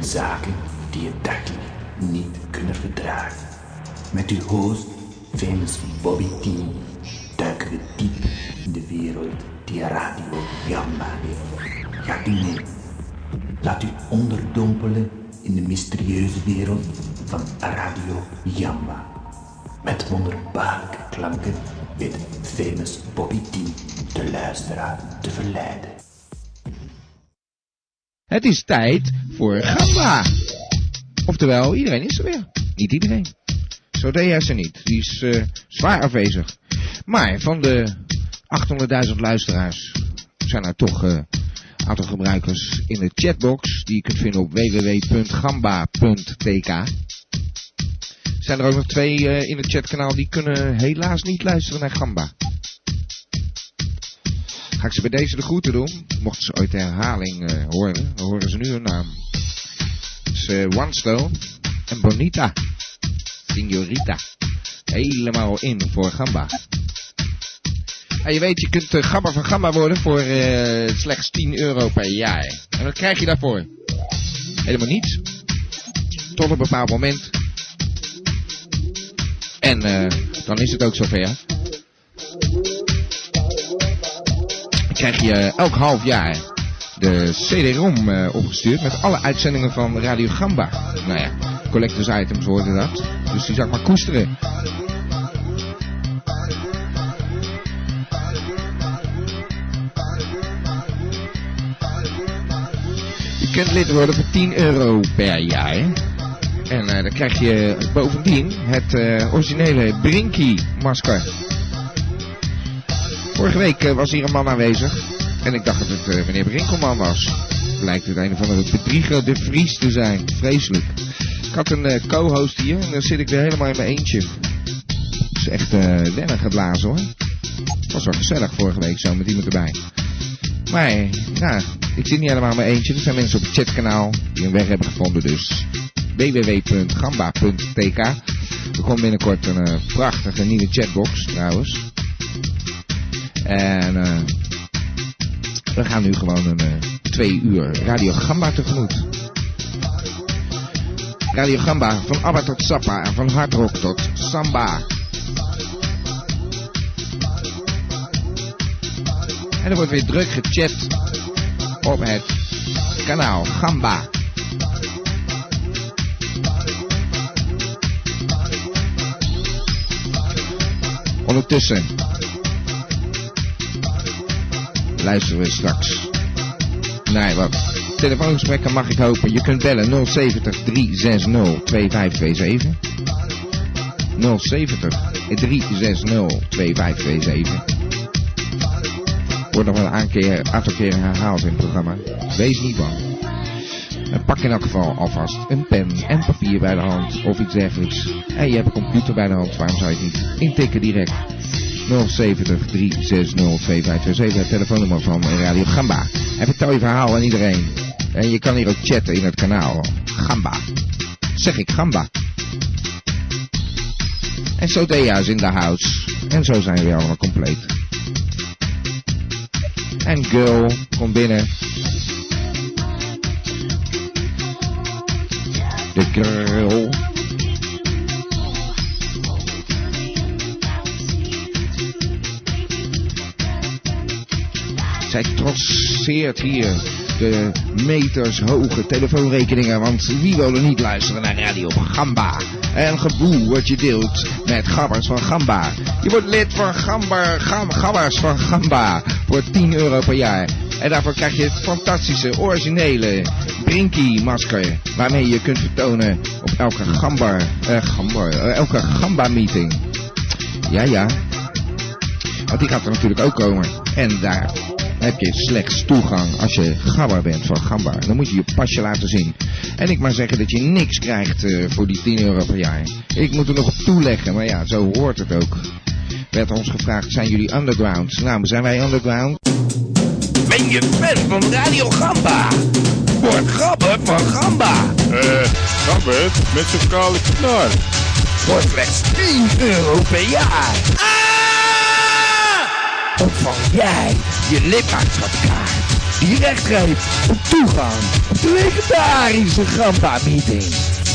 zaken die je dagelijks niet kunnen verdragen. Met uw host, famous Bobby T, duiken we diep in de wereld die Radio Gamma heeft. Gaat u mee? Laat u onderdompelen in de mysterieuze wereld van Radio Gamma. Met wonderbaarlijke klanken weet famous Bobby T de luisteraar te verleiden. Het is tijd voor Gamba. Oftewel, iedereen is er weer. Niet iedereen. Zodea is er niet. Die is eh, zwaar afwezig. Maar van de 800.000 luisteraars zijn er toch eh, een aantal gebruikers in de chatbox. Die je kunt vinden op www.gamba.tk. Zijn er ook nog twee eh, in het chatkanaal die kunnen helaas niet luisteren naar Gamba. Ga ik ze bij deze de groeten doen. Mochten ze ooit de herhaling eh, horen, dan horen ze nu hun naam. Dat is eh, One Stone en Bonita. Signorita. Helemaal in voor Gamba. En je weet, je kunt eh, Gamba van Gamba worden voor eh, slechts 10 euro per jaar. En wat krijg je daarvoor? Helemaal niets. Tot een bepaald moment. En eh, dan is het ook zover. Dan krijg je eh, elk half jaar de CD-ROM eh, opgestuurd met alle uitzendingen van Radio Gamba. Nou ja, collectors items worden dat. Dus die zou ik maar koesteren. Je kunt lid worden voor 10 euro per jaar. En eh, dan krijg je bovendien het eh, originele Brinky-masker. Vorige week eh, was hier een man aanwezig. En ik dacht dat het eh, meneer Brinkelman was. Blijkt het een of andere bedrieger de Vries te zijn. Vreselijk. Ik had een eh, co-host hier en dan zit ik weer helemaal in mijn eentje. Het is echt eh wennen geblazen hoor. Het was wel gezellig vorige week zo met iemand erbij. Maar, nou, ik zit niet helemaal in mijn eentje. Er zijn mensen op het chatkanaal die een weg hebben gevonden dus. www.gamba.tk Er komt binnenkort een eh, prachtige nieuwe chatbox trouwens. En eh, we gaan nu gewoon een eh, twee uur Radio Gamba tegemoet. Radio Gamba, van ABBA tot Sappa en van hardrock tot samba. En er wordt weer druk gechat op het kanaal Gamba. Ondertussen luisteren we straks. Nee, wat? Telefoongesprekken mag ik hopen. Je kunt bellen 070 360 2527. 070 360 2527. Wordt nog wel een aankeer, aantal keren herhaald in het programma. Wees niet bang. En pak in elk geval alvast een pen en papier bij de hand of iets dergelijks. En je hebt een computer bij de hand, waarom zou je het niet intikken direct? 070 360 2527, het telefoonnummer van Radio Gamba. En vertel je verhaal aan iedereen. En je kan hier ook chatten in het kanaal. Gamba. Zeg ik Gamba. En zo Dea is in de house. En zo zijn we weer allemaal compleet. En girl, kom binnen. De girl. Zij trotseert hier de metershoge telefoonrekeningen. Want wie wil er niet luisteren naar Radio Gamba? En geboe wat je deelt met Gabbers van Gamba. Je wordt lid van Gamba, Gam, Gabbers van Gamba. Voor 10 euro per jaar. En daarvoor krijg je het fantastische, originele Brinky-masker. Waarmee je kunt vertonen op elke Gamba, eh, Gamba, eh, elke Gamba-meeting. Ja, ja. Want die gaat er natuurlijk ook komen. En daar heb je slechts toegang als je gabber bent van Gamba. Dan moet je je pasje laten zien. En ik maar zeggen dat je niks krijgt eh, voor die 10 euro per jaar. Ik moet er nog op toeleggen, maar ja, zo hoort het ook. Werd ons gevraagd, zijn jullie underground? Nou, zijn wij underground? Ben je fan van Radio Gamba? Word gabber van Gamba. Eh, Gambert, met zijn kale knar. Voor slechts 10 euro per jaar. Ah! Ontvang jij je lidmaatschapkaart. die recht geeft op toegang op de legendarische Gamba-meeting.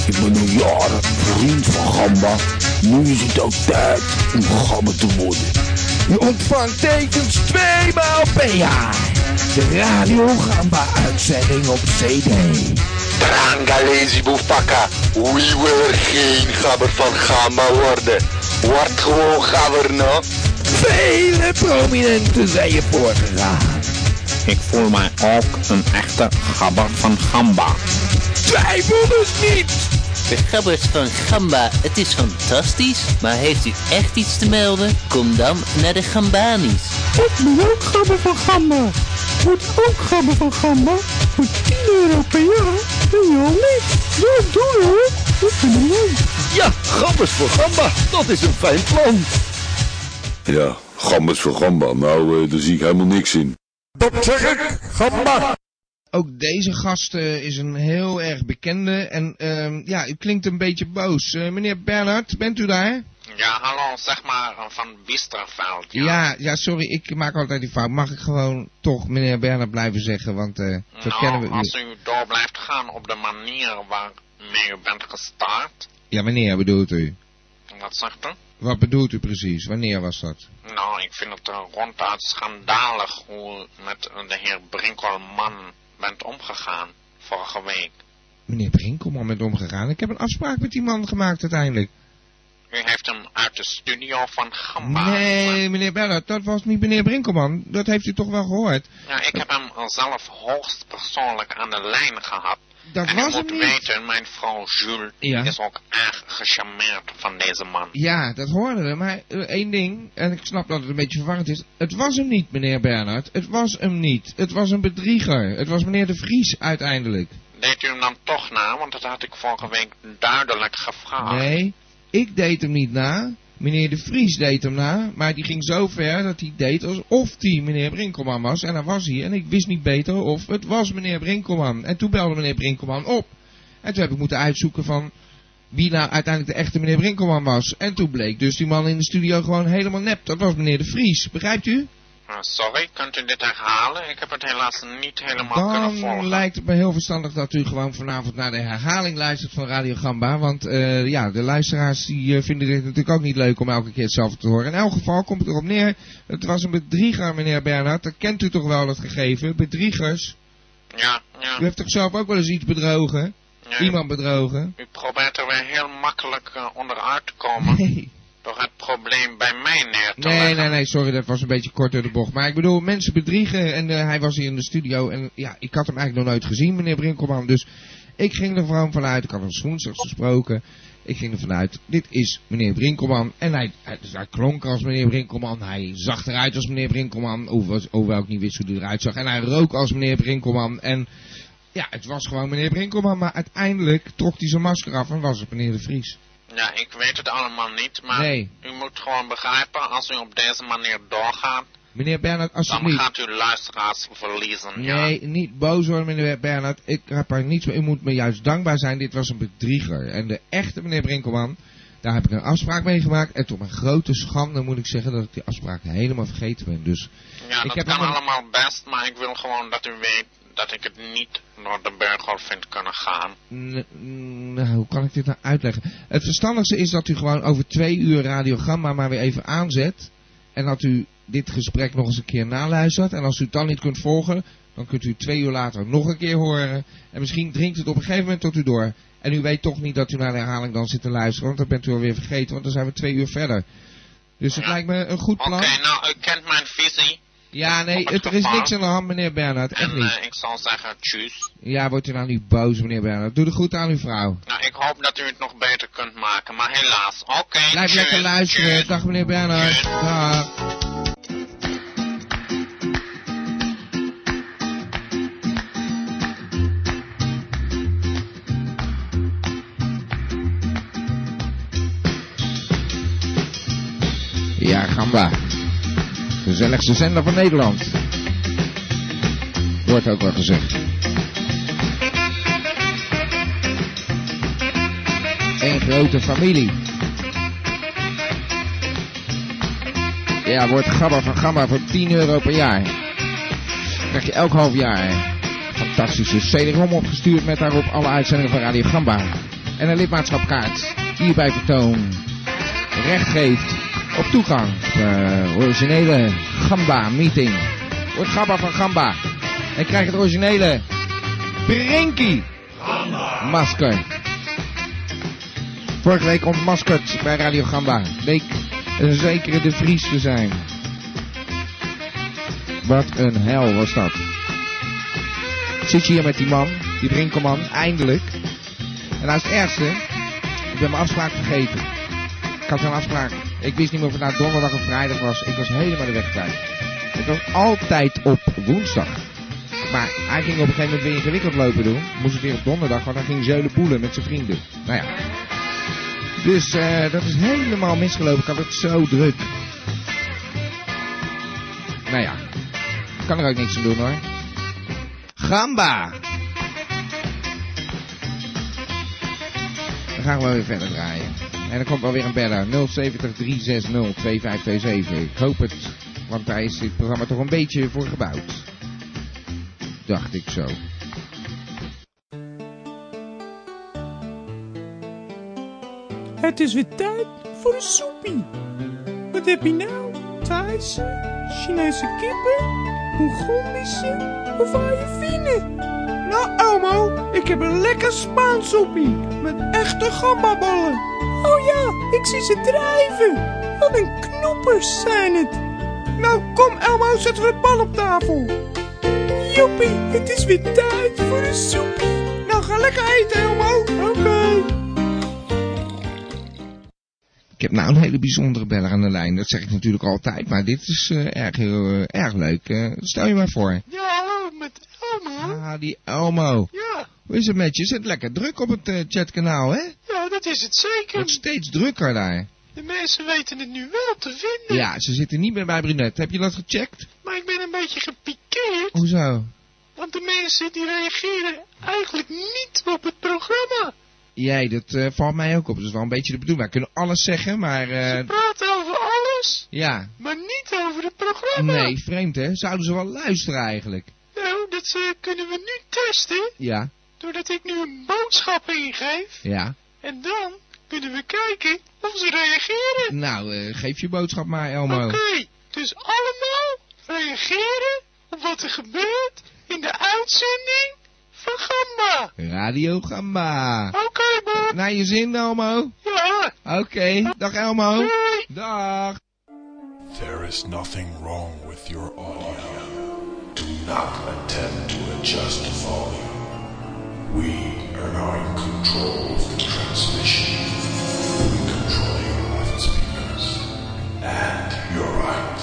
Ik ben al jaren vriend van Gamba. Nu is het ook tijd om Gamba te worden. Je ontvangt tekens twee maal per jaar. De Radio Gamba-uitzending op CD. Trangalezi Boefakka, wie wil geen gabber van Gamba worden? Word gewoon gabber, no? Vele prominenten zijn je voorgegaan. Ik voel mij ook een echte gabber van Gamba. Twijfel dus niet! De gabbers van Gamba, het is fantastisch. Maar heeft u echt iets te melden? Kom dan naar de Gambanis. Ik ben ook gabber van Gamba. Wordt ook gabber van Gamba. Voor 10 euro per jaar ben je al lid. Ja, doe hoor. Dat vind ik leuk. Ja, gabbers voor gamba. Dat is een fijn plan. Ja, gamba is voor gamba. Nou, eh, daar zie ik helemaal niks in. Ook deze gast eh, is een heel erg bekende en ehm, ja, u klinkt een beetje boos. Eh, meneer Bernhard, bent u daar? Ja, hallo, zeg maar eh, van Biesterveld. Ja. ja, ja, sorry, ik maak altijd die fout. Mag ik gewoon toch meneer Bernhard blijven zeggen, want eh zo Nou, kennen we als u door blijft gaan op de manier waarmee u bent gestart, Ja, wanneer bedoelt u? wat zegt u? Wat bedoelt u precies? Wanneer was dat? Nou, ik vind het eh, ronduit schandalig hoe u met eh, de heer Brinkelman bent omgegaan vorige week. Meneer Brinkelman met omgegaan. Ik heb een afspraak met die man gemaakt uiteindelijk. U heeft hem uit de studio van Gamba. Nee, meneer Bernhard, dat was niet meneer Brinkelman. Dat heeft u toch wel gehoord? Ja, ik heb hem eh, zelf hoogst persoonlijk aan de lijn gehad. Dat en u was hem moet niet. weten, mijn vrouw Jules Ja. is ook erg gecharmeerd van deze man. Ja, dat hoorden we. Maar eh, één ding, en ik snap dat het een beetje verwarrend is. Het was hem niet, meneer Bernhard. Het was hem niet. Het was een bedrieger. Het was meneer De Vries uiteindelijk. Deed u hem dan toch na? Want dat had ik vorige week duidelijk gevraagd. Nee, ik deed hem niet na. Meneer De Vries deed hem na. Maar die ging zo ver dat hij deed alsof hij meneer Brinkelman was. En dat was hij. En ik wist niet beter of het was meneer Brinkelman. En toen belde meneer Brinkelman op. En toen heb ik moeten uitzoeken van wie nou uiteindelijk de echte meneer Brinkelman was. En toen bleek dus die man in de studio gewoon helemaal nep. Dat was meneer De Vries. Begrijpt u? Eh, Sorry, kunt u dit herhalen? Ik heb het helaas niet helemaal kunnen Dan volgen. Nou, lijkt het me heel verstandig dat u gewoon vanavond naar de herhaling luistert van Radio Gamba. Want eh, ja, de luisteraars die, eh, vinden dit natuurlijk ook niet leuk om elke keer hetzelfde te horen. In elk geval komt het erop neer. Het was een bedrieger, meneer Bernhard. Dat kent u toch wel, dat gegeven? Bedriegers. Ja, ja. U heeft toch zelf ook wel eens iets bedrogen? ja. Iemand bedrogen? U probeert er weer heel makkelijk eh, onderuit te komen Nee. door het probleem bij mij neer te Nee, leggen. nee, nee, sorry, dat was een beetje kort door de bocht. Maar ik bedoel, mensen bedriegen en eh, hij was hier in de studio. En ja, ik had hem eigenlijk nog nooit gezien, meneer Brinkelman. Dus ik ging er gewoon vanuit, ik had hem woensdags gesproken. Ik ging er vanuit, dit is meneer Brinkelman. En hij, hij, dus hij klonk als meneer Brinkelman, hij zag eruit als meneer Brinkelman. Hoewel hoewel ik niet wist hoe hij eruit zag. En hij rook als meneer Brinkelman. En ja, het was gewoon meneer Brinkelman. Maar uiteindelijk trok hij zijn masker af en was het meneer De Vries. Ja, ik weet het allemaal niet, maar Nee. u moet gewoon begrijpen, als u op deze manier doorgaat, Meneer Bernhard, dan alsjeblieft. gaat u luisteraars verliezen. Ja. Nee, niet boos worden, meneer Bernhard. Ik heb er niets mee. U moet me juist dankbaar zijn. Dit was een bedrieger. En de echte meneer Brinkelman, daar heb ik een afspraak mee gemaakt. En tot mijn grote schande moet ik zeggen dat ik die afspraak helemaal vergeten ben. Dus Ja, Ik dat heb kan nog een- allemaal best, maar ik wil gewoon dat u weet dat ik het niet door de burger vind kunnen gaan. N- n- nou, hoe kan ik dit nou uitleggen? Het verstandigste is dat u gewoon over twee uur radiogramma maar weer even aanzet. En dat u dit gesprek nog eens een keer naluistert. En als u het dan niet kunt volgen, dan kunt u twee uur later nog een keer horen. En misschien dringt het op een gegeven moment tot u door. En u weet toch niet dat u naar de herhaling dan zit te luisteren. Want dan bent u alweer vergeten, want dan zijn we twee uur verder. Dus het Ja. lijkt me een goed Oké, plan. nou, u kent mijn visie. Ja, nee, het, er is niks aan de hand, meneer Bernhard. Echt En niet. eh, ik zal zeggen tjus. Ja, wordt u nou niet boos, meneer Bernhard. Doe de goed aan uw vrouw. Nou, ik hoop dat u het nog beter kunt maken, maar helaas. Oké, Blijf tjus, lekker luisteren. tjus. Dag meneer Bernhard. Dag. Ja, Gamba. Gezelligste zender van Nederland. Wordt ook wel gezegd. Eén grote familie. Ja, wordt Gabba van Gamma voor 10 euro per jaar. Krijg je elk half jaar een fantastische CD-ROM opgestuurd met daarop alle uitzendingen van Radio Gamba. En een lidmaatschapkaart die je bij vertoon recht geeft op toegang. De originele Gamba-meeting. Wordt Gamba van Gamba. En krijg het originele Brinky masker. Vorige week ontmaskerd bij Radio Gamba. Leek een zekere de Vries te zijn. Wat een hel was dat. Ik zit hier met die man, die drinkerman, eindelijk. En als het ergste, ik ben mijn afspraak vergeten. Ik had zo'n afspraak. Ik wist niet meer of het nou donderdag of vrijdag was. Ik was helemaal de weg kwijt. Het was altijd op woensdag. Maar hij ging op een gegeven moment weer ingewikkeld lopen doen. Moest het weer op donderdag, want hij ging zeulen boelen met zijn vrienden. Nou ja. Dus eh, dat is helemaal misgelopen. Ik had het zo druk. Nou ja. Ik kan er ook niks aan doen hoor. Gamba! Dan gaan we wel weer verder draaien. En er komt wel weer een beller. 070 360 2527. Ik hoop het, want daar is dit programma toch een beetje voor gebouwd dacht ik zo. Het is weer tijd voor een soepie. Wat heb je nou? Thaise, Chinese kippen, Mongolische of Ayurvine? Nou, Elmo, ik heb een lekker Spaans soepie met echte gambaballen. Oh ja, ik zie ze drijven. Wat een knoppers zijn het. Nou, kom Elmo, zetten we een bal op tafel. Joepie, het is weer tijd voor een soepie. Nou, ga lekker eten, Elmo. Oké. Ik heb nou een hele bijzondere beller aan de lijn. Dat zeg ik natuurlijk altijd, maar dit is eh, erg, eh, erg leuk. Eh, stel je maar voor. Ja, hallo, met Elmo. Ah, die Elmo. Ja, Hoe is het met je? Is het lekker druk op het eh, chatkanaal, hè? Het ja, dat is het wordt zeker. steeds drukker daar. De mensen weten het nu wel te vinden. Ja, ze zitten niet meer bij Brunet. Heb je dat gecheckt? Maar ik ben een beetje gepikeerd, Hoezo? want de mensen die reageren eigenlijk niet op het programma. Jij, dat eh, valt mij ook op. Dat is wel een beetje de bedoeling. Wij kunnen alles zeggen, maar... Ze eh, praten over alles, ja. maar niet over het programma. Nee, vreemd, hè? Zouden ze wel luisteren eigenlijk? Nou, dat eh, kunnen we nu testen, Ja, doordat ik nu een boodschap ingeef. ja. En dan kunnen we kijken of ze reageren. Nou, eh, geef je boodschap maar, Oké, Elmo. dus allemaal reageren op wat er gebeurt in de uitzending van Gamba. Radio Gamba. Oké, Bob. Naar je zin, Elmo? Ja, Oké. Dag, Elmo. doei. Dag. There is nothing wrong with your audio. Do not attempt to adjust the volume. We are now in control of the transmission. We control your left speakers. And your right.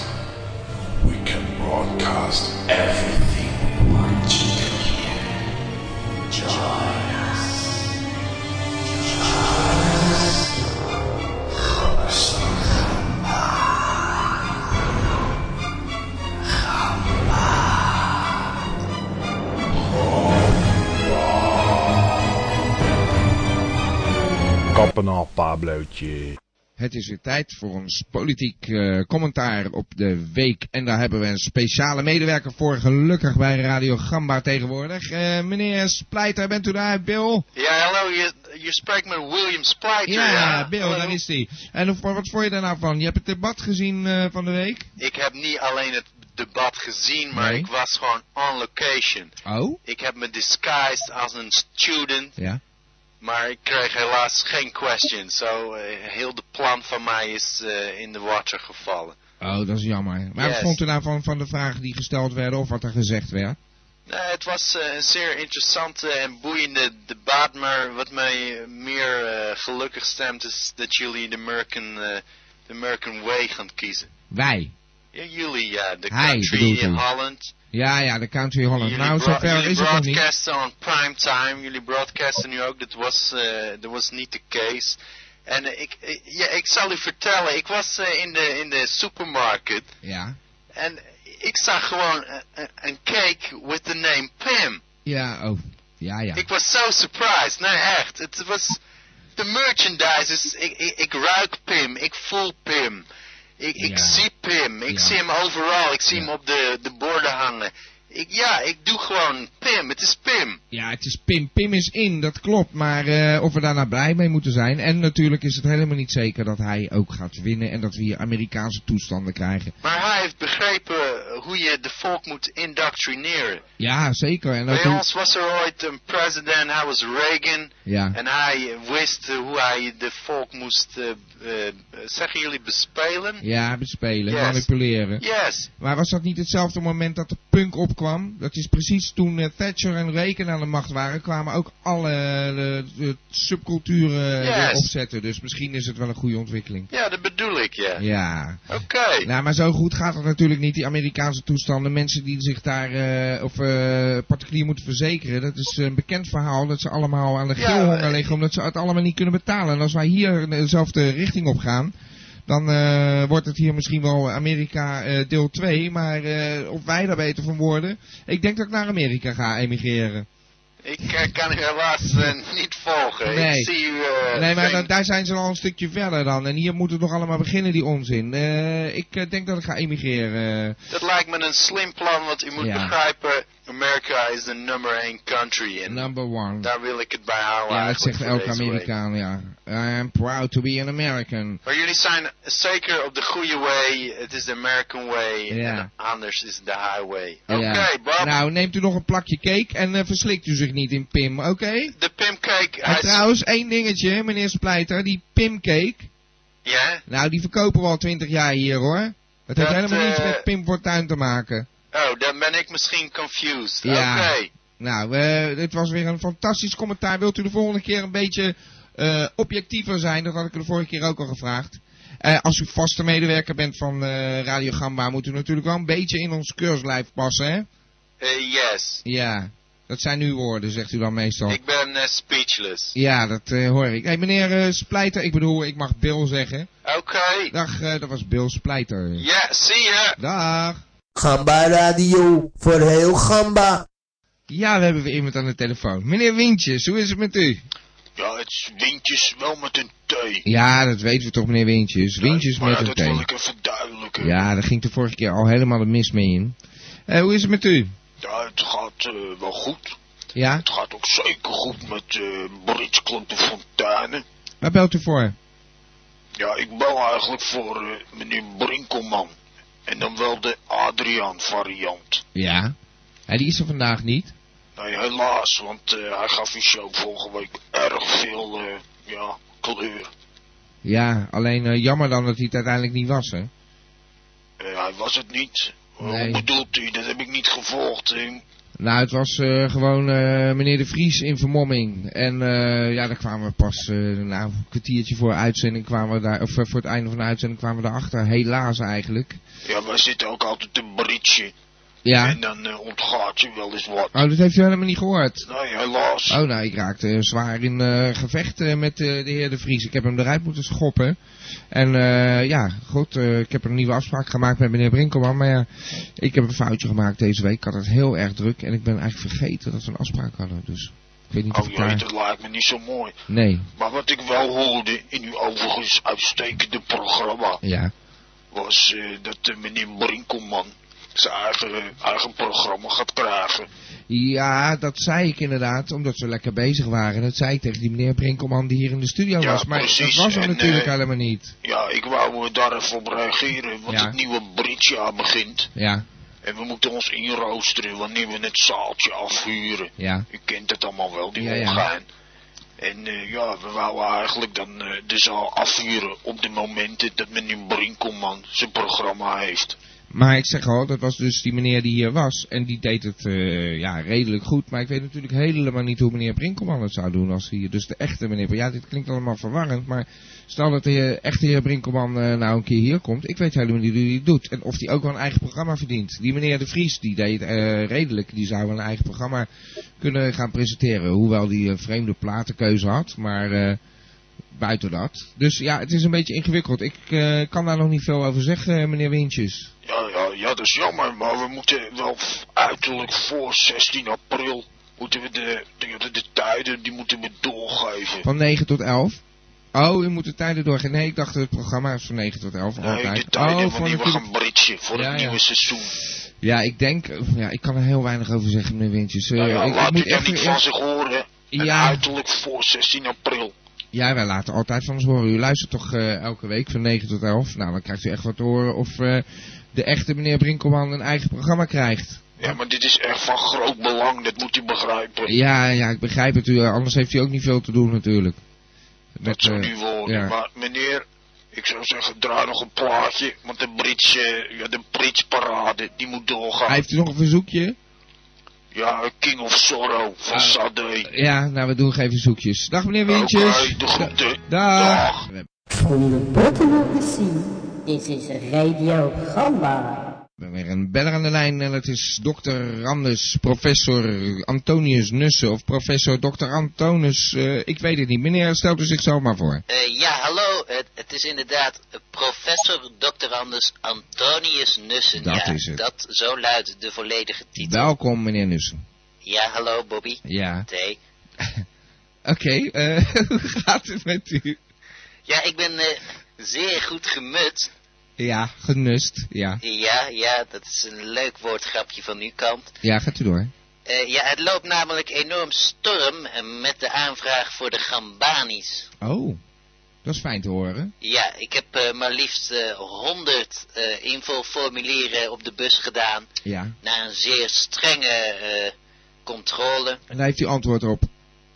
We can broadcast everything we want you to hear. Join us. Join us. Kappen al, Pablootje. Het is weer tijd voor ons politiek eh, commentaar op de week. En daar hebben we een speciale medewerker voor, gelukkig bij Radio Gamba tegenwoordig. Eh, meneer Splijter, bent u daar, Bill? Ja, hallo, je, je spreekt met William Splijter. Ja, Bill, daar is hij. En voor- wat vond je daar nou van? Je hebt het debat gezien eh, van de week? Ik heb niet alleen het debat gezien, maar Nee. ik was gewoon on location. Oh? Ik heb me disguised als een student, Ja. maar ik kreeg helaas geen questions. Zo, eh, heel de plan van mij is eh, in de water gevallen. Oh, dat is jammer. Maar wat Yes. vond u nou van, van de vragen die gesteld werden of wat er gezegd werd? Nee, het was eh, een zeer interessante en boeiende debat, maar wat mij eh, meer eh, gelukkig stemt is dat jullie de American, eh, de American Way gaan kiezen. Wij. Ja, jullie, ja, de Hij, bedoelt country in u. Holland. Ja, ja, de Country Holland. Jullie Nou, bro- zover jullie is het nog niet. broadcasten on prime time. Jullie broadcasten nu ook. Dat was, eh, dat was niet de case. En eh, ik, ik- ja, ik zal u vertellen. Ik was eh, in, de, in de supermarket. Ja. En ik zag gewoon eh, een, een cake with the name Pim. Ja, oh. Ja, ja. Ik was zo surprised. Nee, echt. Het was... De merchandisers... Ik, ik, ik ruik Pim. Ik voel Pim. Ik, ik zie Pim. Ik zie hem overal. Ik zie hem op de, de borden hangen. Ik, ja, ik doe gewoon Pim. Het is Pim. Ja, het is Pim. Pim is in, dat klopt. Maar eh, of we daarna blij mee moeten zijn. En natuurlijk is het helemaal niet zeker dat hij ook gaat winnen. En dat we hier Amerikaanse toestanden krijgen. Maar hij heeft begrepen hoe je de volk moet indoctrineren. Ja, zeker. En dat Bij doet- ons was er ooit een president, hij was Reagan. Ja. En hij wist eh, hoe hij de volk moest, eh, eh, zeggen jullie, bespelen. Ja, bespelen, Yes. manipuleren. Yes. Maar was dat niet hetzelfde moment dat de punk opkwam? Dat is precies toen eh, Thatcher en Reagan aan de macht waren, kwamen ook alle eh, de- de subculturen eh, weer Yes. opzetten. Dus misschien is het wel een goede ontwikkeling. Ja, dat bedoel ik, ja. Ja. Oké. Nou, maar zo goed gaat het natuurlijk niet. Die Amerikaanse toestanden, mensen die zich daar eh, of eh, particulier moeten verzekeren. Dat is een bekend verhaal dat ze allemaal aan de Ja, geelhonger eh, liggen omdat ze het allemaal niet kunnen betalen. En als wij hier dezelfde richting op gaan, dan eh, wordt het hier misschien wel Amerika eh, deel 2. Maar eh, of wij daar beter van worden, ik denk dat ik naar Amerika ga emigreren. Ik eh, kan u helaas eh, niet volgen. Nee. Ik zie u... eh, nee, maar geen- dan- daar zijn ze al een stukje verder dan. En hier moet het nog allemaal beginnen, die onzin. Eh, ik eh, denk dat ik ga emigreren. Dat lijkt me een slim plan, want u moet Ja. begrijpen... Amerika is de number één country. En number one. Daar wil ik het bij houden. Ja, dat eigenlijk zegt voor elke deze week. Amerikaan, ja. I am proud to be an American. Maar jullie zijn zeker op de goede way. Het is de American way. Ja. En anders is het de highway. Ja. Oké, Bob. Nou, neemt u nog een plakje cake en eh, verslikt u zich niet in Pim, oké? De Pimcake. En trouwens, één dingetje, meneer Splijter, die Pimcake. Ja? Nou, die verkopen we al twintig jaar hier, hoor. Dat heeft Dat, helemaal niets eh, met Pim Fortuyn te maken. Oh, dan ben ik misschien confused. Ja. Oké. Nou, eh, dit was weer een fantastisch commentaar. Wilt u de volgende keer een beetje eh, objectiever zijn? Dat had ik u de vorige keer ook al gevraagd. Eh, als u vaste medewerker bent van eh, Radio Gamba, moet u natuurlijk wel een beetje in ons keurslijf passen, hè? Eh, yes. Ja, dat zijn uw woorden, zegt u dan meestal. Ik ben eh, speechless. Ja, dat eh, hoor ik. hey, meneer eh, Splijter, ik bedoel, ik mag Bill zeggen. Oké. Dag, eh, dat was Bill Splijter. Ja, zie je. Dag. Gamba Radio voor heel Gamba. Ja, we hebben weer iemand aan de telefoon. Meneer Wintjes, hoe is het met u? Ja, het is windjes wel met een T. Ja, dat weten we toch, meneer Wintjes. Wintjes maar met ja, een dat wil ik thee. even duidelijken. Ja. Ja, daar ging de vorige keer al helemaal de mis mee in. Eh, hoe is het met u? het gaat eh, wel goed. Ja? Het gaat ook zeker goed met eh Bridgeclub de Fontaine. Waar belt u voor? Ja, ik bel eigenlijk voor eh, meneer Brinkelman. En dan wel de Adriaan variant. Ja. Hij die is er vandaag niet. Nee, helaas, want eh, hij gaf die show vorige week erg veel eh, ja, kleur. Ja, alleen eh, jammer dan dat hij het uiteindelijk niet was, hè? Eh, hij was het niet. Nee. Hoe bedoelt u? Dat heb ik niet gevolgd. eh. Nou, het was eh, gewoon eh, meneer De Vries in vermomming. En eh, ja, daar kwamen we pas eh, nou, een kwartiertje voor, uitzending kwamen we daar, of eh, voor het einde van de uitzending kwamen we daarachter. Helaas eigenlijk. Ja, wij zitten ook altijd te britsen. Ja. En dan eh, ontgaat je wel eens wat. Oh, dat heeft u helemaal niet gehoord? Nee, helaas. Oh, nou, ik raakte eh, zwaar in eh, gevecht eh, met eh, de heer De Vries. Ik heb hem eruit moeten schoppen. En eh, ja, goed, eh, ik heb een nieuwe afspraak gemaakt met meneer Brinkelman. Maar ja, ik heb een foutje gemaakt deze week. Ik had het heel erg druk en ik ben eigenlijk vergeten dat we een afspraak hadden. Dus ik weet niet of Oh ik jee, daar... dat lijkt me niet zo mooi. Nee, Maar wat ik wel hoorde in uw overigens uitstekende programma... ja. was eh, dat eh, meneer Brinkelman zijn eigen, eh, eigen programma gaat krijgen. Ja, dat zei ik inderdaad, omdat ze lekker bezig waren. Dat zei ik tegen die meneer Brinkelman die hier in de studio Ja, was. Maar precies. dat was hem En, natuurlijk eh, helemaal niet. Ja, ik wou eh, daar even op reageren, want Ja. het nieuwe Britsjaar begint... Ja, en we moeten ons inroosteren wanneer we het zaaltje afhuren. ja. U kent het allemaal wel, die Ja, ja, ja. En eh, ja, we wouden eigenlijk dan eh, de zaal afhuren op de momenten dat meneer Brinkelman zijn programma heeft. Maar ik zeg al, dat was dus die meneer die hier was. En die deed het eh, ja, redelijk goed. Maar ik weet natuurlijk helemaal niet hoe meneer Brinkelman het zou doen als hij dus de echte meneer... Ja, dit klinkt allemaal verwarrend, maar stel dat de heer- echte heer Brinkelman eh, nou een keer hier komt. Ik weet helemaal niet hoe hij het doet. En of hij ook wel een eigen programma verdient. Die meneer De Vries, die deed eh, redelijk. Die zou wel een eigen programma kunnen gaan presenteren. Hoewel die een vreemde platenkeuze had, maar... eh, Buiten dat. Dus ja, het is een beetje ingewikkeld. Ik eh, kan daar nog niet veel over zeggen, eh, meneer Wintjes. Ja, ja, ja, dat is jammer, maar we moeten wel f- uiterlijk voor 16 april moeten we de, de, de, de tijden die moeten we doorgeven. Van 9 tot 11? Oh, u moet de tijden doorgaan. Nee, ik dacht dat het programma is van 9 tot 11 Nee, altijd. de tijden oh, wanneer we natuurlijk- gaan britsen voor Ja, het ja. nieuwe seizoen. Ja, ik denk... Ja, ik kan er heel weinig over zeggen, meneer Wintjes. Eh, Nou ja, ik- ik, laat u moet dan even- niet van zich horen. En Ja. uiterlijk voor 16 april. Ja, wij laten altijd van ons horen. U luistert toch eh, elke week van 9 tot 11? Nou, dan krijgt u echt wat te horen of eh, de echte meneer Brinkelman een eigen programma krijgt. Ja, maar dit is echt van groot belang, dat moet u begrijpen. Ja, ja, ik begrijp het. U, eh, anders heeft u ook niet veel te doen natuurlijk. Met, Dat zou eh, nu worden. ja. Maar meneer, ik zou zeggen, draai nog een plaatje. Want de Brits, eh, ja, de Brits parade, die moet doorgaan. Heeft u nog een verzoekje? Ja, King of Sorrow van Ah. Sade. Ja, nou, we doen geen verzoekjes. Dag meneer Wintjes. Oké, de groeten. Dag. From the bottom of the sea, this is Radio Gamba. We hebben weer een beller aan de lijn en dat is dokter Randus, professor Antonius Nussen of professor dokter Antonus. eh, ik weet het niet. Meneer, stelt u zich zomaar voor. Eh, ja, hallo. Het, het is inderdaad eh, professor Dr. Anders Antonius Nussen. Dat ja, is het. Dat, zo luidt de volledige titel. Welkom meneer Nussen. Ja, hallo Bobby. Ja. Thee. Oké, eh, hoe gaat het met u? Ja, ik ben eh, zeer goed gemut. Ja, genust. Ja, Ja, ja, dat is een leuk woordgrapje van uw kant. ja gaat u door. Eh, ja, het loopt namelijk enorm storm eh, met de aanvraag voor de Gambanis. Oh, dat is fijn te horen. Ja, ik heb eh, maar liefst eh, 100 eh invulformulieren op de bus gedaan. Ja. Na een zeer strenge eh, controle. En daar heeft u antwoord op.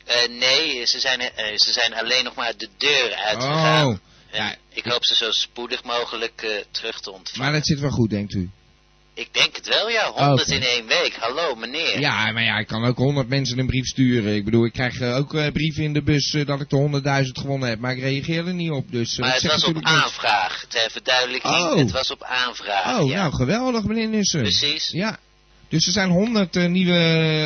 Eh, nee, ze zijn, eh, ze zijn alleen nog maar de deur uitgegaan. Oh, Ja, ik hoop ze zo spoedig mogelijk eh, terug te ontvangen. maar dat zit wel goed, denkt u? Ik denk het wel, ja. 100 Oké. in één week. Hallo, meneer. Ja, maar ja, ik kan ook honderd mensen een brief sturen. Ik bedoel, ik krijg eh, ook eh, brieven in de bus eh, dat ik de honderdduizend gewonnen heb, maar ik reageer er niet op. Dus, eh, maar dat het zegt was op natuurlijk niks. aanvraag. Ter verduidelijking, Oh. het was op aanvraag. Oh, ja. nou geweldig meneer Nussen. Precies. Ja. Dus er zijn honderd nieuwe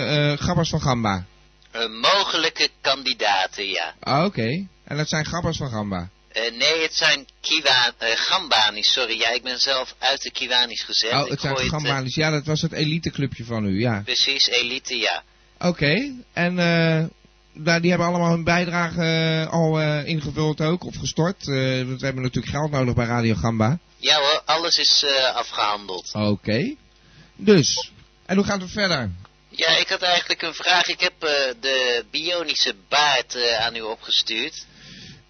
eh grappers van Gamba. Eh, mogelijke kandidaten, ja. Ah, Oké. En dat zijn grappers van Gamba. Eh, nee, het zijn Kiwa, eh, Gambanis, sorry. Ja, ik ben zelf uit de Kiwanis gezet. Oh, Ik het zijn gooi eh, Gamba's. Ja, dat was het eliteclubje van u, ja. precies, elite, ja. Oké. En eh, nou, die hebben allemaal hun bijdrage eh, al eh, ingevuld ook, of gestort. Eh, want we hebben natuurlijk geld nodig bij Radio Gamba. Ja hoor, alles is eh, afgehandeld. Oké. Dus. En hoe gaat het verder? Ja, Oh. ik had eigenlijk een vraag. Ik heb eh, de bionische baard eh, aan u opgestuurd.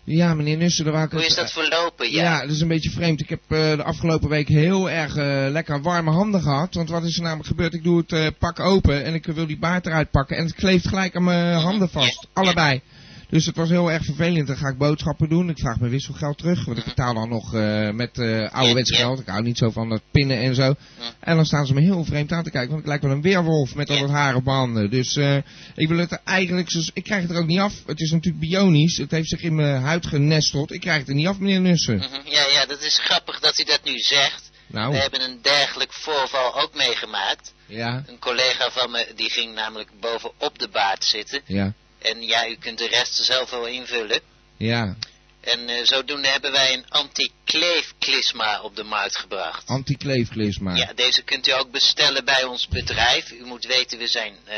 Ja, meneer Nussen, daar wou ik Hoe het- is dat verlopen? Ja. Ja, dat is een beetje vreemd. Ik heb eh, de afgelopen week heel erg eh, lekker warme handen gehad. Want wat is er namelijk gebeurd? Ik doe het eh, pak open en ik wil die baard eruit pakken. En het kleeft gelijk aan mijn handen vast. Allebei. Dus het was heel erg vervelend. Dan ga ik boodschappen doen. Ik vraag mijn wisselgeld terug. Want ik betaal dan nog eh, met eh ouderwets geld. Ik hou niet zo van dat pinnen en zo. En dan staan ze me heel vreemd aan te kijken. Want ik lijk wel een weerwolf met al dat haar op mijn handen. Dus eh, ik wil het er eigenlijk... zo- Ik krijg het er ook niet af. Het is natuurlijk bionisch. Het heeft zich in mijn huid genesteld. Ik krijg het er niet af, meneer Nussen. Mhm, ja, ja, dat is grappig dat u dat nu zegt. Nou. We hebben een dergelijk voorval ook meegemaakt. Ja. Een collega van me die ging namelijk bovenop de baard zitten. Ja. En ja, u kunt de rest zelf wel invullen. Ja. En eh, zodoende hebben wij een anti-kleefklisma op de markt gebracht. Anti-kleefklisma. Ja, deze kunt u ook bestellen bij ons bedrijf. U moet weten, we zijn eh,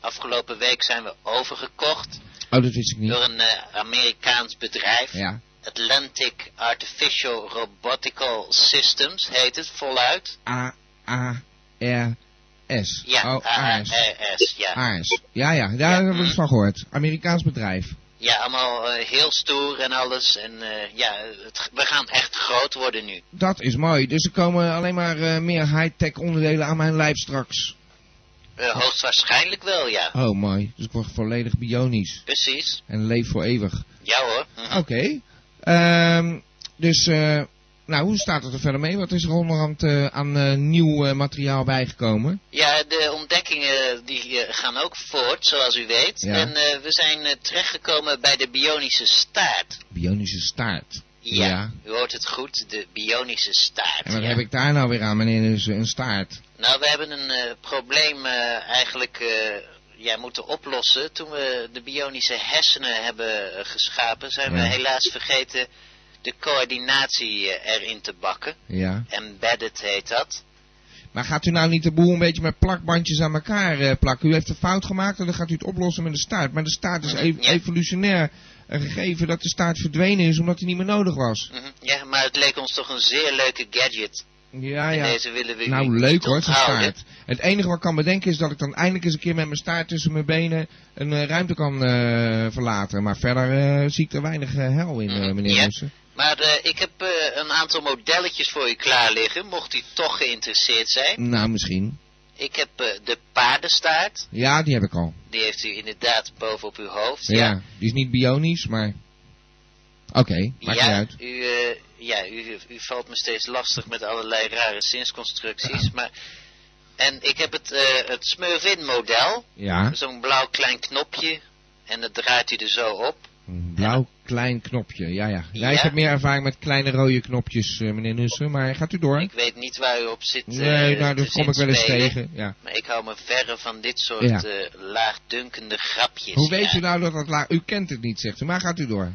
afgelopen week zijn we overgekocht Oh, dat wist ik niet. door een eh, Amerikaans bedrijf. Ja. Atlantic Artificial Robotical Systems heet het voluit. A-A-R-S. Ja, Oh, ARS. ARS, ja. Mhm. ARS. Ja, ja, daar hebben we het van gehoord. Amerikaans bedrijf. Ja, allemaal eh, heel stoer en alles. En eh, ja, het- we gaan echt groot worden nu. Dat is mooi. Dus er komen alleen maar eh, meer high-tech onderdelen aan mijn lijf straks. Eh, hoogstwaarschijnlijk wel, ja. Oh, mooi. Dus ik word volledig bionisch. Precies. En leef voor eeuwig. Ja hoor. Hm. Oké. Ehm, dus, eh, nou, hoe staat het er verder mee? Wat is er onderhand eh, aan eh, nieuw eh, materiaal bijgekomen? Ja, de ontdekkingen die eh, gaan ook voort, zoals u weet. Ja. En eh, we zijn eh, terechtgekomen bij de bionische staart. Bionische staart. Ja, u hoort het goed, de bionische staart. En wat ja. heb ik daar nou weer aan, meneer Nussen? Een staart. Nou, we hebben een eh, probleem eh, eigenlijk eh, ja, moeten oplossen. Toen we de bionische hersenen hebben eh, geschapen, zijn we Ja. helaas vergeten de coördinatie eh, erin te bakken. Ja. Embedded heet dat. Maar gaat u nou niet de boel een beetje met plakbandjes aan elkaar eh, plakken? U heeft een fout gemaakt en dan gaat u het oplossen met de staart. Maar de staart is ev- evolutionair een gegeven Mm. dat de staart verdwenen is omdat hij niet meer nodig was. Mhm. Ja, maar het leek ons toch een zeer leuke gadget. Ja, En ja. deze willen we u nou, niet leuk hoor, onthouden. gestaard. Het enige wat ik kan bedenken is dat ik dan eindelijk eens een keer met mijn staart tussen mijn benen een eh, ruimte kan eh, verlaten. Maar verder eh, zie ik er weinig eh, hel in, eh, meneer Mm. ja. Roessen. Maar eh, ik heb eh, een aantal modelletjes voor u klaar liggen, mocht u toch geïnteresseerd zijn. Nou, misschien. Ik heb eh, de paardenstaart, Ja, die heb ik al. die heeft u inderdaad boven op uw hoofd. Ja, die is niet bionisch, maar... Oké, maakt niet ja, uit. U, eh, ja u, u valt me steeds lastig met allerlei rare zinsconstructies. Maar, en ik heb het, eh het Smurfin-model. Ja. Zo'n blauw klein knopje. En dat draait u er zo op. Een blauw Mhm. Nou, klein knopje, ja, ja. ja. Ik Ja. heb meer ervaring met kleine rode knopjes, eh, meneer Nussen, maar gaat u door. Ik weet niet waar u op zit. eh, Nee, nou, te dat kom ik wel eens zinspelen. tegen, ja. Maar ik hou me verre van dit soort Ja. eh, laagdunkende grapjes. Hoe weet ja. u nou dat dat laag... U kent het niet, zegt u, maar gaat u door.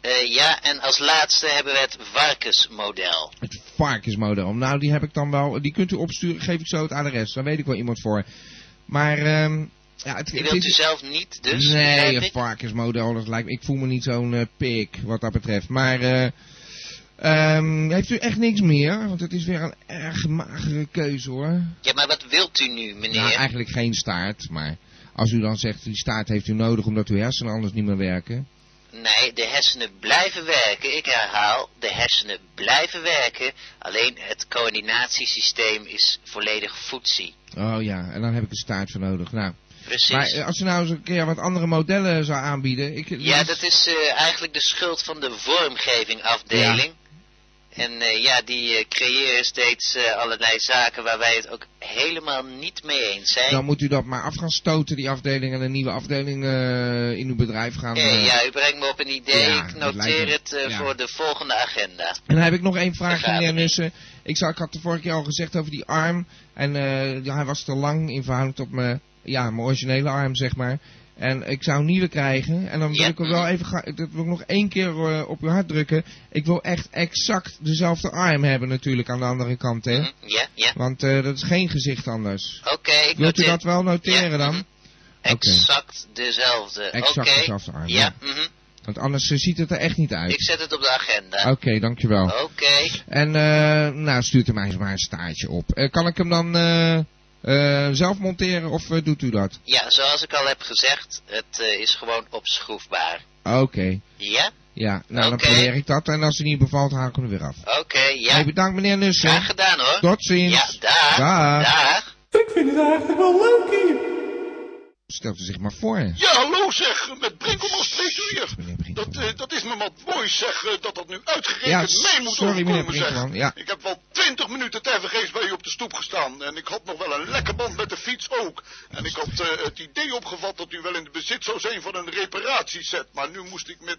Eh, ja, en als laatste hebben we het varkensmodel. Het varkensmodel. Nou, die heb ik dan wel. Die kunt u opsturen. Geef ik zo het adres. Daar weet ik wel iemand voor. Maar, ehm ja, het, Die het wilt is- u zelf niet, dus? Nee, begrijp een ik? varkensmodel. Dat lijkt me, ik voel me niet zo'n eh, pik wat dat betreft. Maar, eh ehm, heeft u echt niks meer? Want het is weer een erg magere keuze hoor. Ja, maar wat wilt u nu, meneer? Nou, eigenlijk geen staart. Maar als u dan zegt, die staart heeft u nodig omdat uw hersenen anders niet meer werken. Nee, de hersenen blijven werken. Ik herhaal, de hersenen blijven werken. Alleen het coördinatiesysteem is volledig foetsie. Oh ja, en dan heb ik een staart voor nodig. Nou. Precies. Maar eh, als u nou eens een keer wat andere modellen zou aanbieden. Ik, ja, dat is eh, eigenlijk de schuld van de vormgevingafdeling. En eh, ja, die eh, creëren steeds eh, allerlei zaken waar wij het ook helemaal niet mee eens zijn. Dan moet u dat maar af gaan stoten, die afdeling, en een nieuwe afdeling eh, in uw bedrijf gaan. Oké, eh. ja, u brengt me op een idee. ja, ik dat lijkt noteer me- het eh, ja. voor de volgende agenda. En dan heb ik nog één vraag, Daar gaat meneer het. Nussen. Ik, zou, ik had de vorige keer al gezegd over die arm. En eh, ja, hij was te lang in verhouding tot mijn, ja, mijn originele arm, zeg maar. En ik zou een nieuwe krijgen. En dan wil ik er wel even ga, dat wil ik nog één keer eh, op uw hart drukken. Ik wil echt exact dezelfde arm hebben natuurlijk aan de andere kant, hè? Mhm, Ja, ja. Want eh, dat is geen gezicht anders. Oké, ik Wilt u noteer- dat wel noteren Ja, dan? mhm. Oké. Exact dezelfde. Exact Oké. dezelfde arm, ja. Ja, mhm. Want anders eh, ziet het er echt niet uit. ik zet het op de agenda. Oké, dankjewel. Oké. En eh, nou, stuurt u mij eens maar een staartje op. Eh, kan ik hem dan eh, eh, zelf monteren of eh, doet u dat? Ja, zoals ik al heb gezegd, het eh, is gewoon opschroefbaar. Oké. Ja? Ja, nou dan Oké. probeer ik dat. En als het niet bevalt, haal ik hem er weer af. Oké, ja. Hey, bedankt meneer Nussen. Graag gedaan hoor. Tot ziens. Ja, dag. Dag. Dag. Ik vind het eigenlijk wel leuk hier. Stelt u zich maar voor. Ja, hallo zeg, met Brinkelman spreekt u hier. Dat, eh, dat is me wat mooi zeg, eh, dat dat nu Ja, uitgerekend mij moet sorry, meneer overkomen, zeg. Brinkman, ja. Ik heb wel twintig minuten tevergeefs bij u op de stoep gestaan. En ik had nog wel een lekker band met de fiets ook. En ik had eh, het idee opgevat dat u wel in het bezit zou zijn van een reparatieset. Maar nu moest ik met...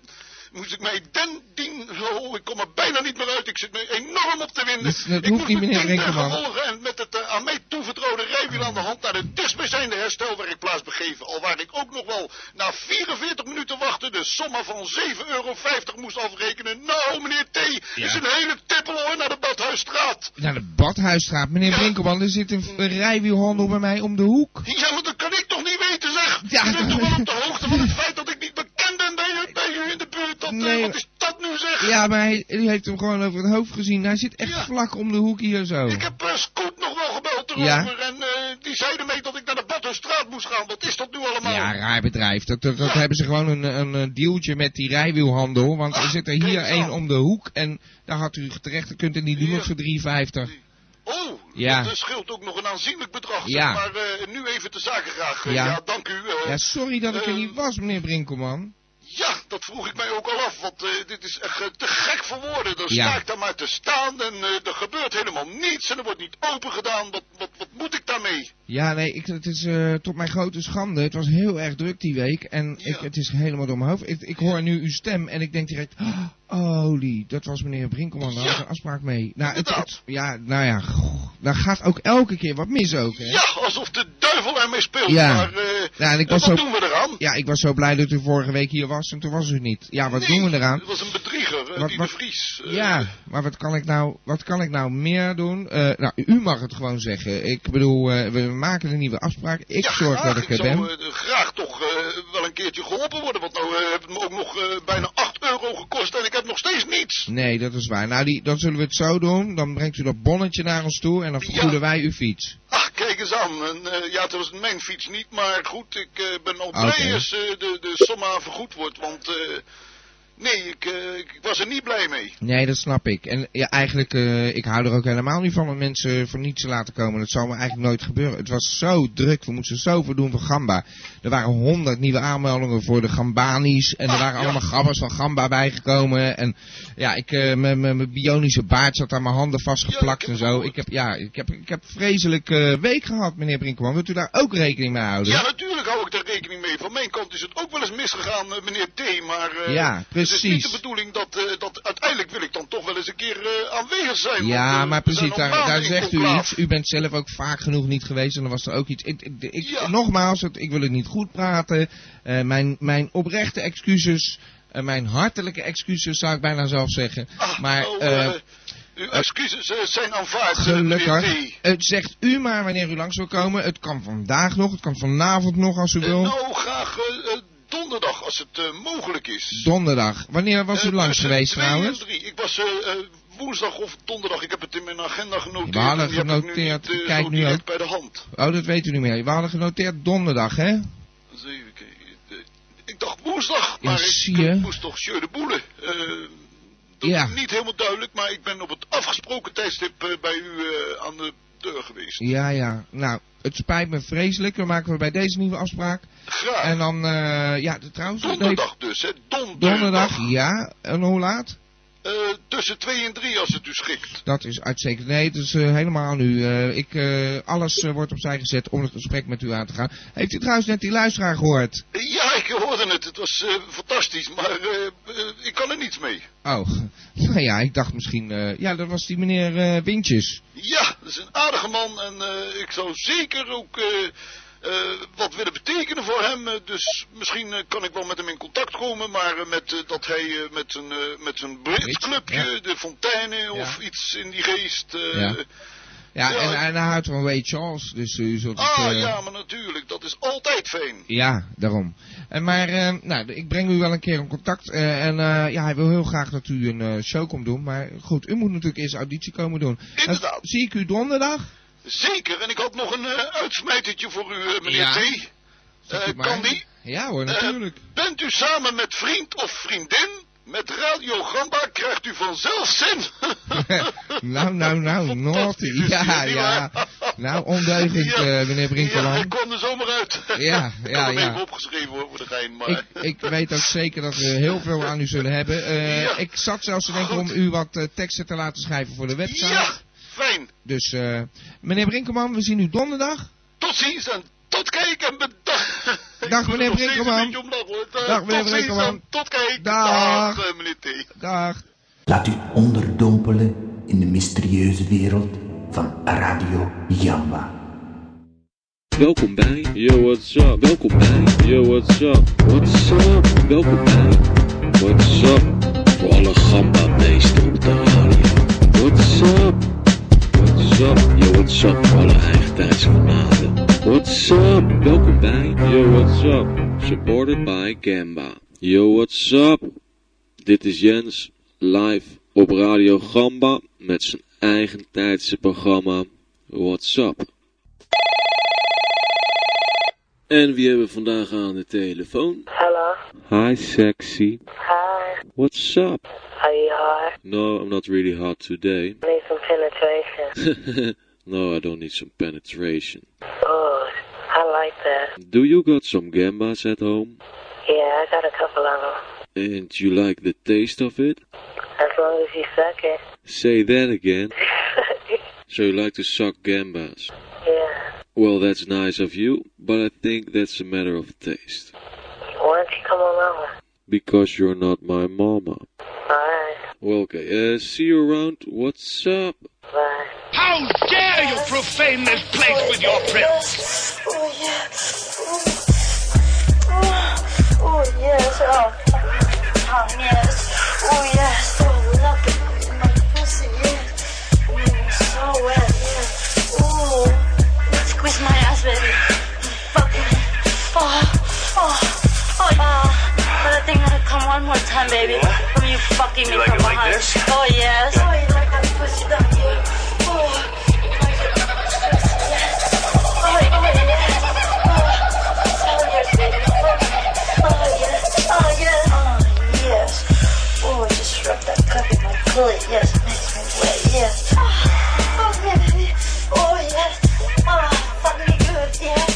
Moest ik mij den ding... Oh, ik kom er bijna niet meer uit. Ik zit me enorm op te winden. Dat- Dus dat ik hoeft moest niet, met meneer tien dagen Brinkman. volgen en met het eh, aan mij toevertrouwde rijwiel aan de hand naar de desbijzijnde herstelwerkplaats begeven. Al waar ik ook nog wel na 44 minuten wachten de somma van 7,50 euro moest afrekenen. Nou, meneer T, is een hele tippel hoor naar de Badhuisstraat. Naar de Badhuisstraat. Meneer Brinkelman, er zit een een rijwielhandel bij mij om de hoek. Ja, maar dat kan ik toch niet weten, zeg? Je bent toch wel op de hoogte van het feit dat ik niet bekend ben bij, bij u in de buurt. Dat, eh, Nee. wat is dat nu, zeg? Ja, maar hij, u heeft hem gewoon over het hoofd gezien. Hij zit echt vlak om de hoek hier zo. Ik heb eh, Scoot nog wel gebeld Ja. erover en eh, die zeiden mee dat ik naar de Badhuisstraat moest gaan. Wat is dat nu allemaal? Ja, raar bedrijf. Dat, dat, dat hebben ze gewoon een, een eh, dealtje met die rijwielhandel. Want er zit er hier één om de hoek. En daar had u terecht, dat kunt u niet doen voor 3,50. Oh, Ja. dat eh, scheelt ook nog een aanzienlijk bedrag. zeg Ja. Maar eh, nu even te zaken graag. Eh, Ja. Ja. dank u. eh. Ja, sorry dat ik er eh, niet was, meneer Brinkelman. Ja, dat vroeg ik mij ook al af, want eh, dit is echt eh, te gek voor woorden. Dan Ja. sta ik daar maar te staan en eh, er gebeurt helemaal niets en er wordt niet open gedaan. Wat, wat, wat moet ik daarmee? Ja, nee, ik, het is eh, tot mijn grote schande. Het was heel erg druk die week. En ik, het is helemaal door mijn hoofd. Ik, ik hoor nu uw stem en ik denk direct... Oh, holy, dat was meneer Brinkelman. Daar had ik een afspraak mee. Nou, het, het- ja, nou ja, goh, daar gaat ook elke keer wat mis ook, hè? Ja, alsof de duivel ermee speelt. Ja. Maar eh, Ja, en ik eh, was wat zo... doen we eraan? Ja, ik was zo blij dat u vorige week hier was en toen was u niet. Ja, wat doen we eraan? Het was een bedrieg. Krieger, eh, Wat- die wat- de Vries. eh, Ja, maar wat kan ik nou, wat kan ik nou meer doen? Eh, nou, u mag het gewoon zeggen. Ik bedoel, eh, we maken een nieuwe afspraak. Ik ja, zorg graag. dat ik er zou ben. eh, graag toch eh, wel een keertje geholpen worden. Want nou eh, heeft het me ook nog eh, bijna 8 euro gekost en ik heb nog steeds niets. Nee, dat is waar. Nou, die, dan zullen we het zo doen. Dan brengt u dat bonnetje naar ons toe en dan vergoeden wij uw fiets. Ach, kijk eens aan. En, eh, ja, het was mijn fiets niet, maar goed, ik eh, ben al Ah, Oké. blij als eh, de, de somma vergoed wordt. Want eh, nee, ik, eh, ik was er niet blij mee. Nee, dat snap ik. En ja, eigenlijk, eh, ik hou er ook helemaal niet van om mensen voor niets te laten komen. Dat zou me eigenlijk nooit gebeuren. Het was zo druk. We moesten zoveel doen voor Gamba. Er waren honderd nieuwe aanmeldingen voor de Gambani's. En er waren allemaal gabbers van Gamba bijgekomen. En ja, ik, eh, mijn- mijn mijn bionische baard zat aan mijn handen vastgeplakt en zo. Ik heb, ja, ik heb, ik heb vreselijk eh, week gehad, meneer Brinkman. Wilt u daar ook rekening mee houden? Ja, natuurlijk hou ik daar rekening mee. Van mijn kant is het ook wel eens misgegaan, eh, meneer T. Maar eh, Ja, het is niet precies. de bedoeling dat, eh, dat uiteindelijk wil ik dan toch wel eens een keer eh, aanwezig zijn. want, Ja, eh, maar we zijn precies, al daar, maanden daar in zegt u conclave. iets. U bent zelf ook vaak genoeg niet geweest en dan was er ook iets. Ik, ik, ik- Nogmaals, het- ik wil het niet goed praten. Eh, mijn, mijn oprechte excuses, eh, mijn hartelijke excuses zou ik bijna zelf zeggen. maar Oh, eh, eh, uw excuses eh, zijn aanvaard, eh, gelukkig, meneer T. het zegt u maar wanneer u langs wil komen. Het kan vandaag nog, het kan vanavond nog als u wil. Nou, graag eh, eh, donderdag, als het eh, mogelijk is. Donderdag. Wanneer was u langs geweest Twee en trouwens? drie. Ik was eh, eh, woensdag of donderdag. Ik heb het in mijn agenda genoteerd. We hadden en die heb ik nu genoteerd, niet, eh, kijk zo nu direct ook. bij de hand. Oh, dat weet u niet meer. We hadden genoteerd donderdag, hè? Eens even kijken. Eh, Ik dacht woensdag, Ja, maar zie ik je. eh, moest toch Sjeu de Boele. Eh, dat Ja. is niet helemaal duidelijk, maar ik ben op het afgesproken tijdstip eh, bij u eh, aan de deur geweest. Ja, ja. Nou, het spijt me vreselijk. Dan maken we bij deze nieuwe afspraak. Graag. En dan, eh ja, de- trouwens... dat Donderdag heeft- dus, hè? Donderdag. Donderdag, ja. En hoe laat? Eh, tussen twee en drie, als het u schikt. Dat is uitstekend. Nee, het is eh, helemaal aan u. Eh, ik, eh, alles eh, wordt opzij gezet om het gesprek met u aan te gaan. Heeft u trouwens net die luisteraar gehoord? Eh, Ja, ik hoorde het. Het was eh, fantastisch, maar eh, eh, ik kan er niets mee. Oh, nou ja, ik dacht misschien... eh, ja, dat was die meneer eh, Windjes. Ja, dat is een aardige man en eh, ik zou zeker ook eh, eh, wat willen betekenen voor hem. eh, dus misschien eh, kan ik wel met hem in contact komen, maar eh, met, eh, dat hij eh, met zijn, eh met zijn Brits clubje, de Fonteinen of iets in die geest... eh, Ja. Ja, Ja, en, ik- en hij houdt van Ray Charles, dus u zult het... Ah eh, ja, maar natuurlijk, dat is altijd fijn. Ja, daarom. En maar eh, nou, ik breng u wel een keer in contact. eh, en eh, ja, hij wil heel graag dat u een eh, show komt doen. Maar goed, u moet natuurlijk eerst auditie komen doen. Inderdaad. zie ik u donderdag? Zeker, en ik had nog een eh uitsmijtertje voor u, eh, meneer Ja. T. Zegt u Eh, maar. kan die? Ja hoor, Eh, natuurlijk. bent u samen met vriend of vriendin? Met Radio Gamba krijgt u vanzelf zin. nou, nou, nou, naughty. Ja, ja. Nou, ondeugend, eh, meneer ja, Brinkeland. ik kwam er zomaar uit. Ja, ik ja, had hem ja. even opgeschreven hoor, voor de gein, maar... Ik, ik weet ook zeker dat we heel veel aan u zullen hebben. Eh, Ik zat zelfs te denken om u wat eh, teksten te laten schrijven voor de website. Ja, fijn. Dus, eh, meneer Brinkelman, we zien u donderdag. Tot ziens en tot kijk en bedankt. Dag, meneer Brinkelman. Eh, Dag, meneer Tot ziens Brinkelman. en tot kijk. Dag. Dag eh, meneer T. Dag. Laat u onderdompelen in de mysterieuze wereld van Radio Jamba. Welkom bij Yo What's Up. Welkom bij Yo What's Up. What's up? Welkom bij What's Up. Voor alle gamba beesten op de radio. What's up? What's up? Yo What's Up voor alle eigen tijdsgenoten. What's up? Welkom bij Yo What's Up. Supported by Gamba. Yo What's Up? Dit is Jens live op Radio Gamba met zijn eigen tijdse programma What's Up. En wie hebben we vandaag aan de telefoon? Hello. Hi sexy. Hi. What's up? Are you hard? No, I'm not really hot today. Need some penetration. no, I don't need some penetration. oh, I like that. Do you got some gambas at home? Yeah, I got a couple of them. And you like the taste of it? As long as you suck it. Say that again. so you like to suck gambas? Yeah. Well, that's nice of you, but I think that's a matter of taste. Why don't you come on over? Because you're not my mama. Alright. Well, okay, uh, see you around. What's up? How dare you profane this place with your prince? Oh, yeah. Oh, yes. Oh, yes. Oh, yes. Mm, oh, first time, baby. Who you fucking me from behind? Oh yes. Oh, Oh, Oh, Oh, Yes, it makes me wet, yes. Oh, oh, baby. Oh, yes. Oh, fuck me good, yes.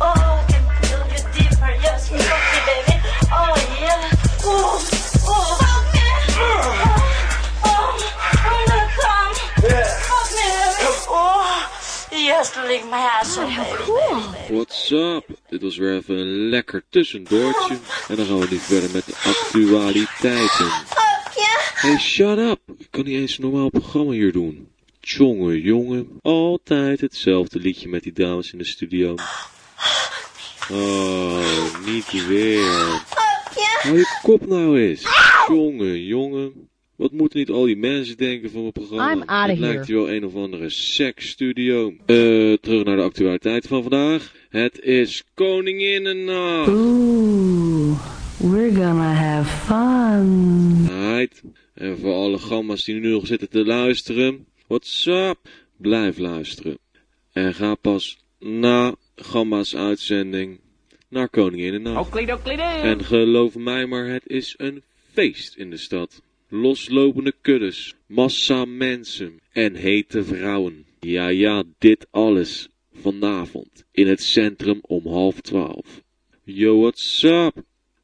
Oh, I can feel you deeper, yes. You fuck me, baby. Oh, yeah. Oh, oh, fuck me. Oh, oh, when I come. Fuck me, baby. Oh, yes, lick my ass, oh, baby. baby. What's up? Dit was weer even een lekker tussendoortje. En dan gaan we nu verder met de actualiteiten. Fuck yeah. Hey, shut up! Ik kan niet eens een normaal programma hier doen. Tjonge, jongen. Altijd hetzelfde liedje met die dames in de studio. Oh, niet weer. Hou je kop nou eens. Jongen, jongen. Wat moeten niet al die mensen denken van mijn programma? I'm outta Het here. lijkt hier wel een of andere seksstudio. Eh, terug naar de actualiteit van vandaag. Het is Koninginnennacht. Ooh, we're gonna have fun. Right. En voor alle gamma's die nu nog zitten te luisteren. What's up? Blijf luisteren. En ga pas na gamma's uitzending naar Koningin en Nacht. En geloof mij maar, het is een feest in de stad. Loslopende kuddes, massa mensen en hete vrouwen. Ja, ja, dit alles vanavond in het centrum om half twaalf. Yo, what's up?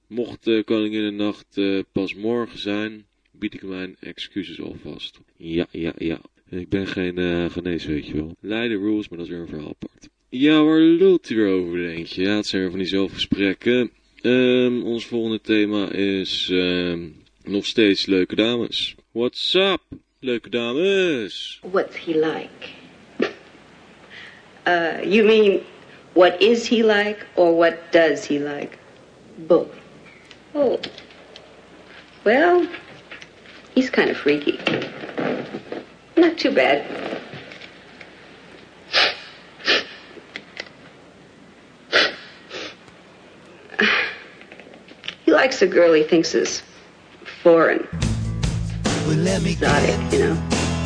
Mocht eh, Koningin de Nacht eh, pas morgen zijn, bied ik mijn excuses alvast. Ja, ja, ja. Ik ben geen eh genees, weet je wel. Leiden rules, maar dat is weer een verhaal apart. Ja, waar lult u weer over, denk je? Ja, het zijn weer van die zelfgesprekken. Ehm, ons volgende thema is ehm, nog steeds leuke dames. What's up, leuke dames? What's he like? Uh, you mean, what is he like or what does he like? Both. Oh. Well, he's kind of freaky. Not too bad. He likes a girl he thinks is foreign. Well, let me exotic, you know.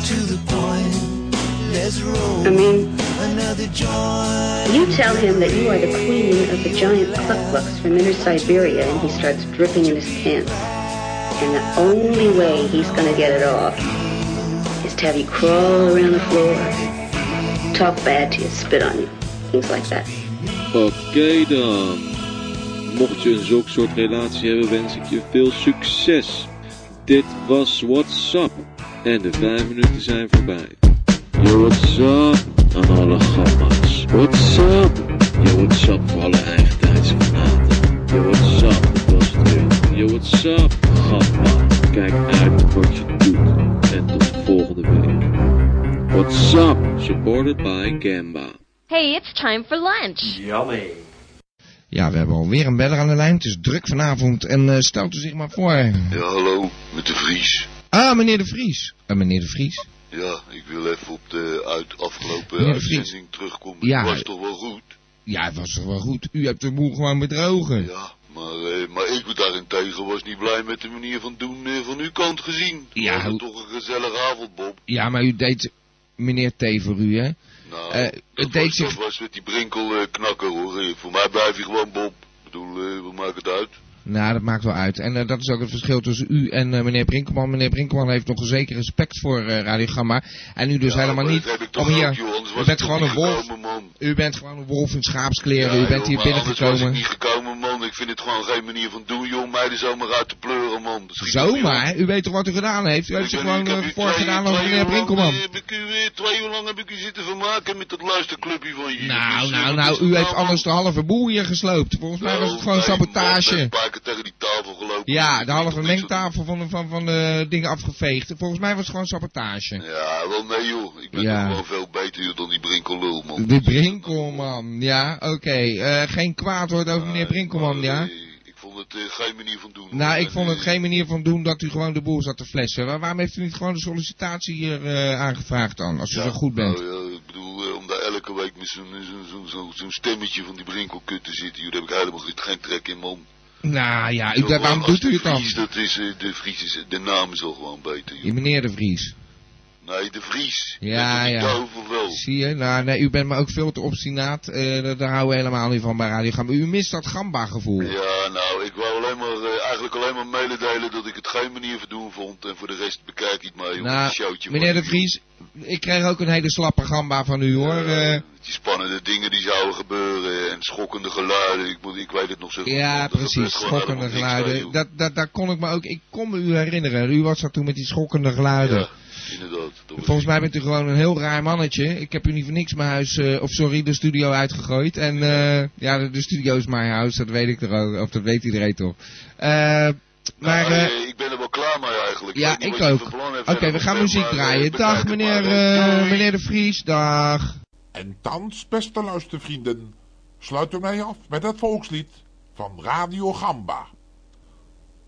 to the point. Let's roll. I mean, Another joint. You tell him that you are the queen of the giant clucklucks from inner Siberia, and he starts dripping in his pants. And the only way he's gonna get it off is to have you crawl around the floor, talk bad to you, spit on you, things like that. Oké dan. Mocht je een zulk soort relatie hebben, wens ik je veel succes. Dit was WhatsApp. En de vijf minuten zijn voorbij. Yo, what's up aan alle gamma's. What's up? Yo, what's up voor alle eigen tijdsfanaten. Yo, what's up? Dat was het weer. Yo, what's up, gamma. Kijk uit wat je doet. En tot volgende week. What's up? Supported by Gamba. Hey, it's time for lunch. Yummy. Ja, we hebben alweer een beller aan de lijn. Het is druk vanavond en eh, stelt u zich maar voor. Ja, hallo, met de Vries. Ah, meneer De Vries. Eh, meneer De Vries. Ja, ik wil even op de uit afgelopen Meneer de Vries. uitzending terugkomen. Ja. Het was toch wel goed, Ja, het was toch wel goed. U hebt de boel gewoon bedrogen. Ja. maar, eh, maar ik daarentegen was niet blij met de manier van doen eh, van uw kant gezien. Ja, was hoe- het toch een gezellige avond, Bob. Ja, maar u deed meneer T voor u, hè? Nou, Eh, dat, het was, deed zich... dat was met die brinkel eh, knakker hoor. Eh, Voor mij blijf je gewoon Bob. Ik bedoel, eh, we maken het uit. Nou, dat maakt wel uit. En eh, dat is ook het verschil tussen u en eh, meneer Brinkman. Meneer Brinkman heeft nog een zeker respect voor eh Radio Gamma. En u dus helemaal maar niet. dat heb ik Om toch hier, ook, joh, anders u was ik bent toch gewoon een niet wolf. gekomen, man. U bent gewoon een wolf in schaapskleren. Ja, u joh, bent hier maar anders was ik binnengekomen. niet gekomen, man. Ik vind het gewoon geen manier van doen, joh. Meiden zomaar uit te pleuren, man. Dat schiet toch niet op. Zomaar? U weet toch wat u gedaan heeft? U heeft zich gewoon eh, voorgedaan over meneer Brinkelman. Nou, nou, nou, u heeft anders de halve boel hier gesloopt. Volgens mij Oh, Nou, was het gewoon sabotage. Ja, de halve mengtafel van de, van, van de dingen afgeveegd. Volgens mij was het gewoon sabotage. Ja, wel nee, joh. Ik ben Ja. toch wel veel beter joh, dan die Brinkelul, man. De Brinkelman, ja, oké. Eh, geen kwaad woord over meneer Brinkelman, ja. Ik vond het eh, geen manier van doen. Nou, ik vond het geen manier van doen dat u gewoon de boel zat te flessen. Waar- waarom heeft u niet gewoon de sollicitatie hier eh, aangevraagd dan, als u zo goed bent? Nou, ja, ik bedoel, eh, om daar elke eh, week met zo'n zo'n- zo'n- zo'n- zo'n stemmetje van die Brinkelkut te zitten, joh, daar heb ik helemaal geen trek in, man. Nou ja, ik, dacht, waarom doet u het dan? Vries, dat is, eh, de Vries is, de naam is al gewoon beter. Die meneer de Vries. Nee, de Vries. Ja, Bent u ja. doof of wel? Zie je? Nou, nee, u bent maar ook veel te obstinaat. Eh, daar- daar houden we helemaal niet van bij Radio Gamba. U mist dat Gamba-gevoel. Ja, nou, ik wou alleen maar, eh, eigenlijk alleen maar mededelen dat ik het geen manier van doen vond. En voor de rest bekijk ik mij op nou, het showtje. meneer van de Vries, ik kreeg ook een hele slappe Gamba van u, hoor. Eh, Die spannende dingen die zouden gebeuren en schokkende geluiden. Ik, moet, ik weet het nog zo goed. ja, Dat gebeurt precies. gewoon Schokkende helemaal niks mee, geluiden. Dat, dat, daar kon ik me ook... Ik kon me u herinneren. U was dat toen met die schokkende geluiden. joh. Inderdaad. dat was- Volgens mij bent u gewoon een heel raar mannetje. Ik heb u niet voor niks mijn huis, eh, of sorry, de studio uitgegooid. En eh, ja, de, de studio is mijn huis, dat weet ik er ook, of dat weet iedereen toch. Eh, maar Nou, eh, eh, ik ben er wel klaar mee eigenlijk. ja, weet niet ik wat je ook. van plan hebt Oké, verder we gaan nog, muziek maar, eh, draaien. bekijk Dag het meneer, maar eens. eh, Doei. meneer de Vries, dag. En thans, beste luistervrienden, sluiten wij af met het volkslied van Radio Gamba.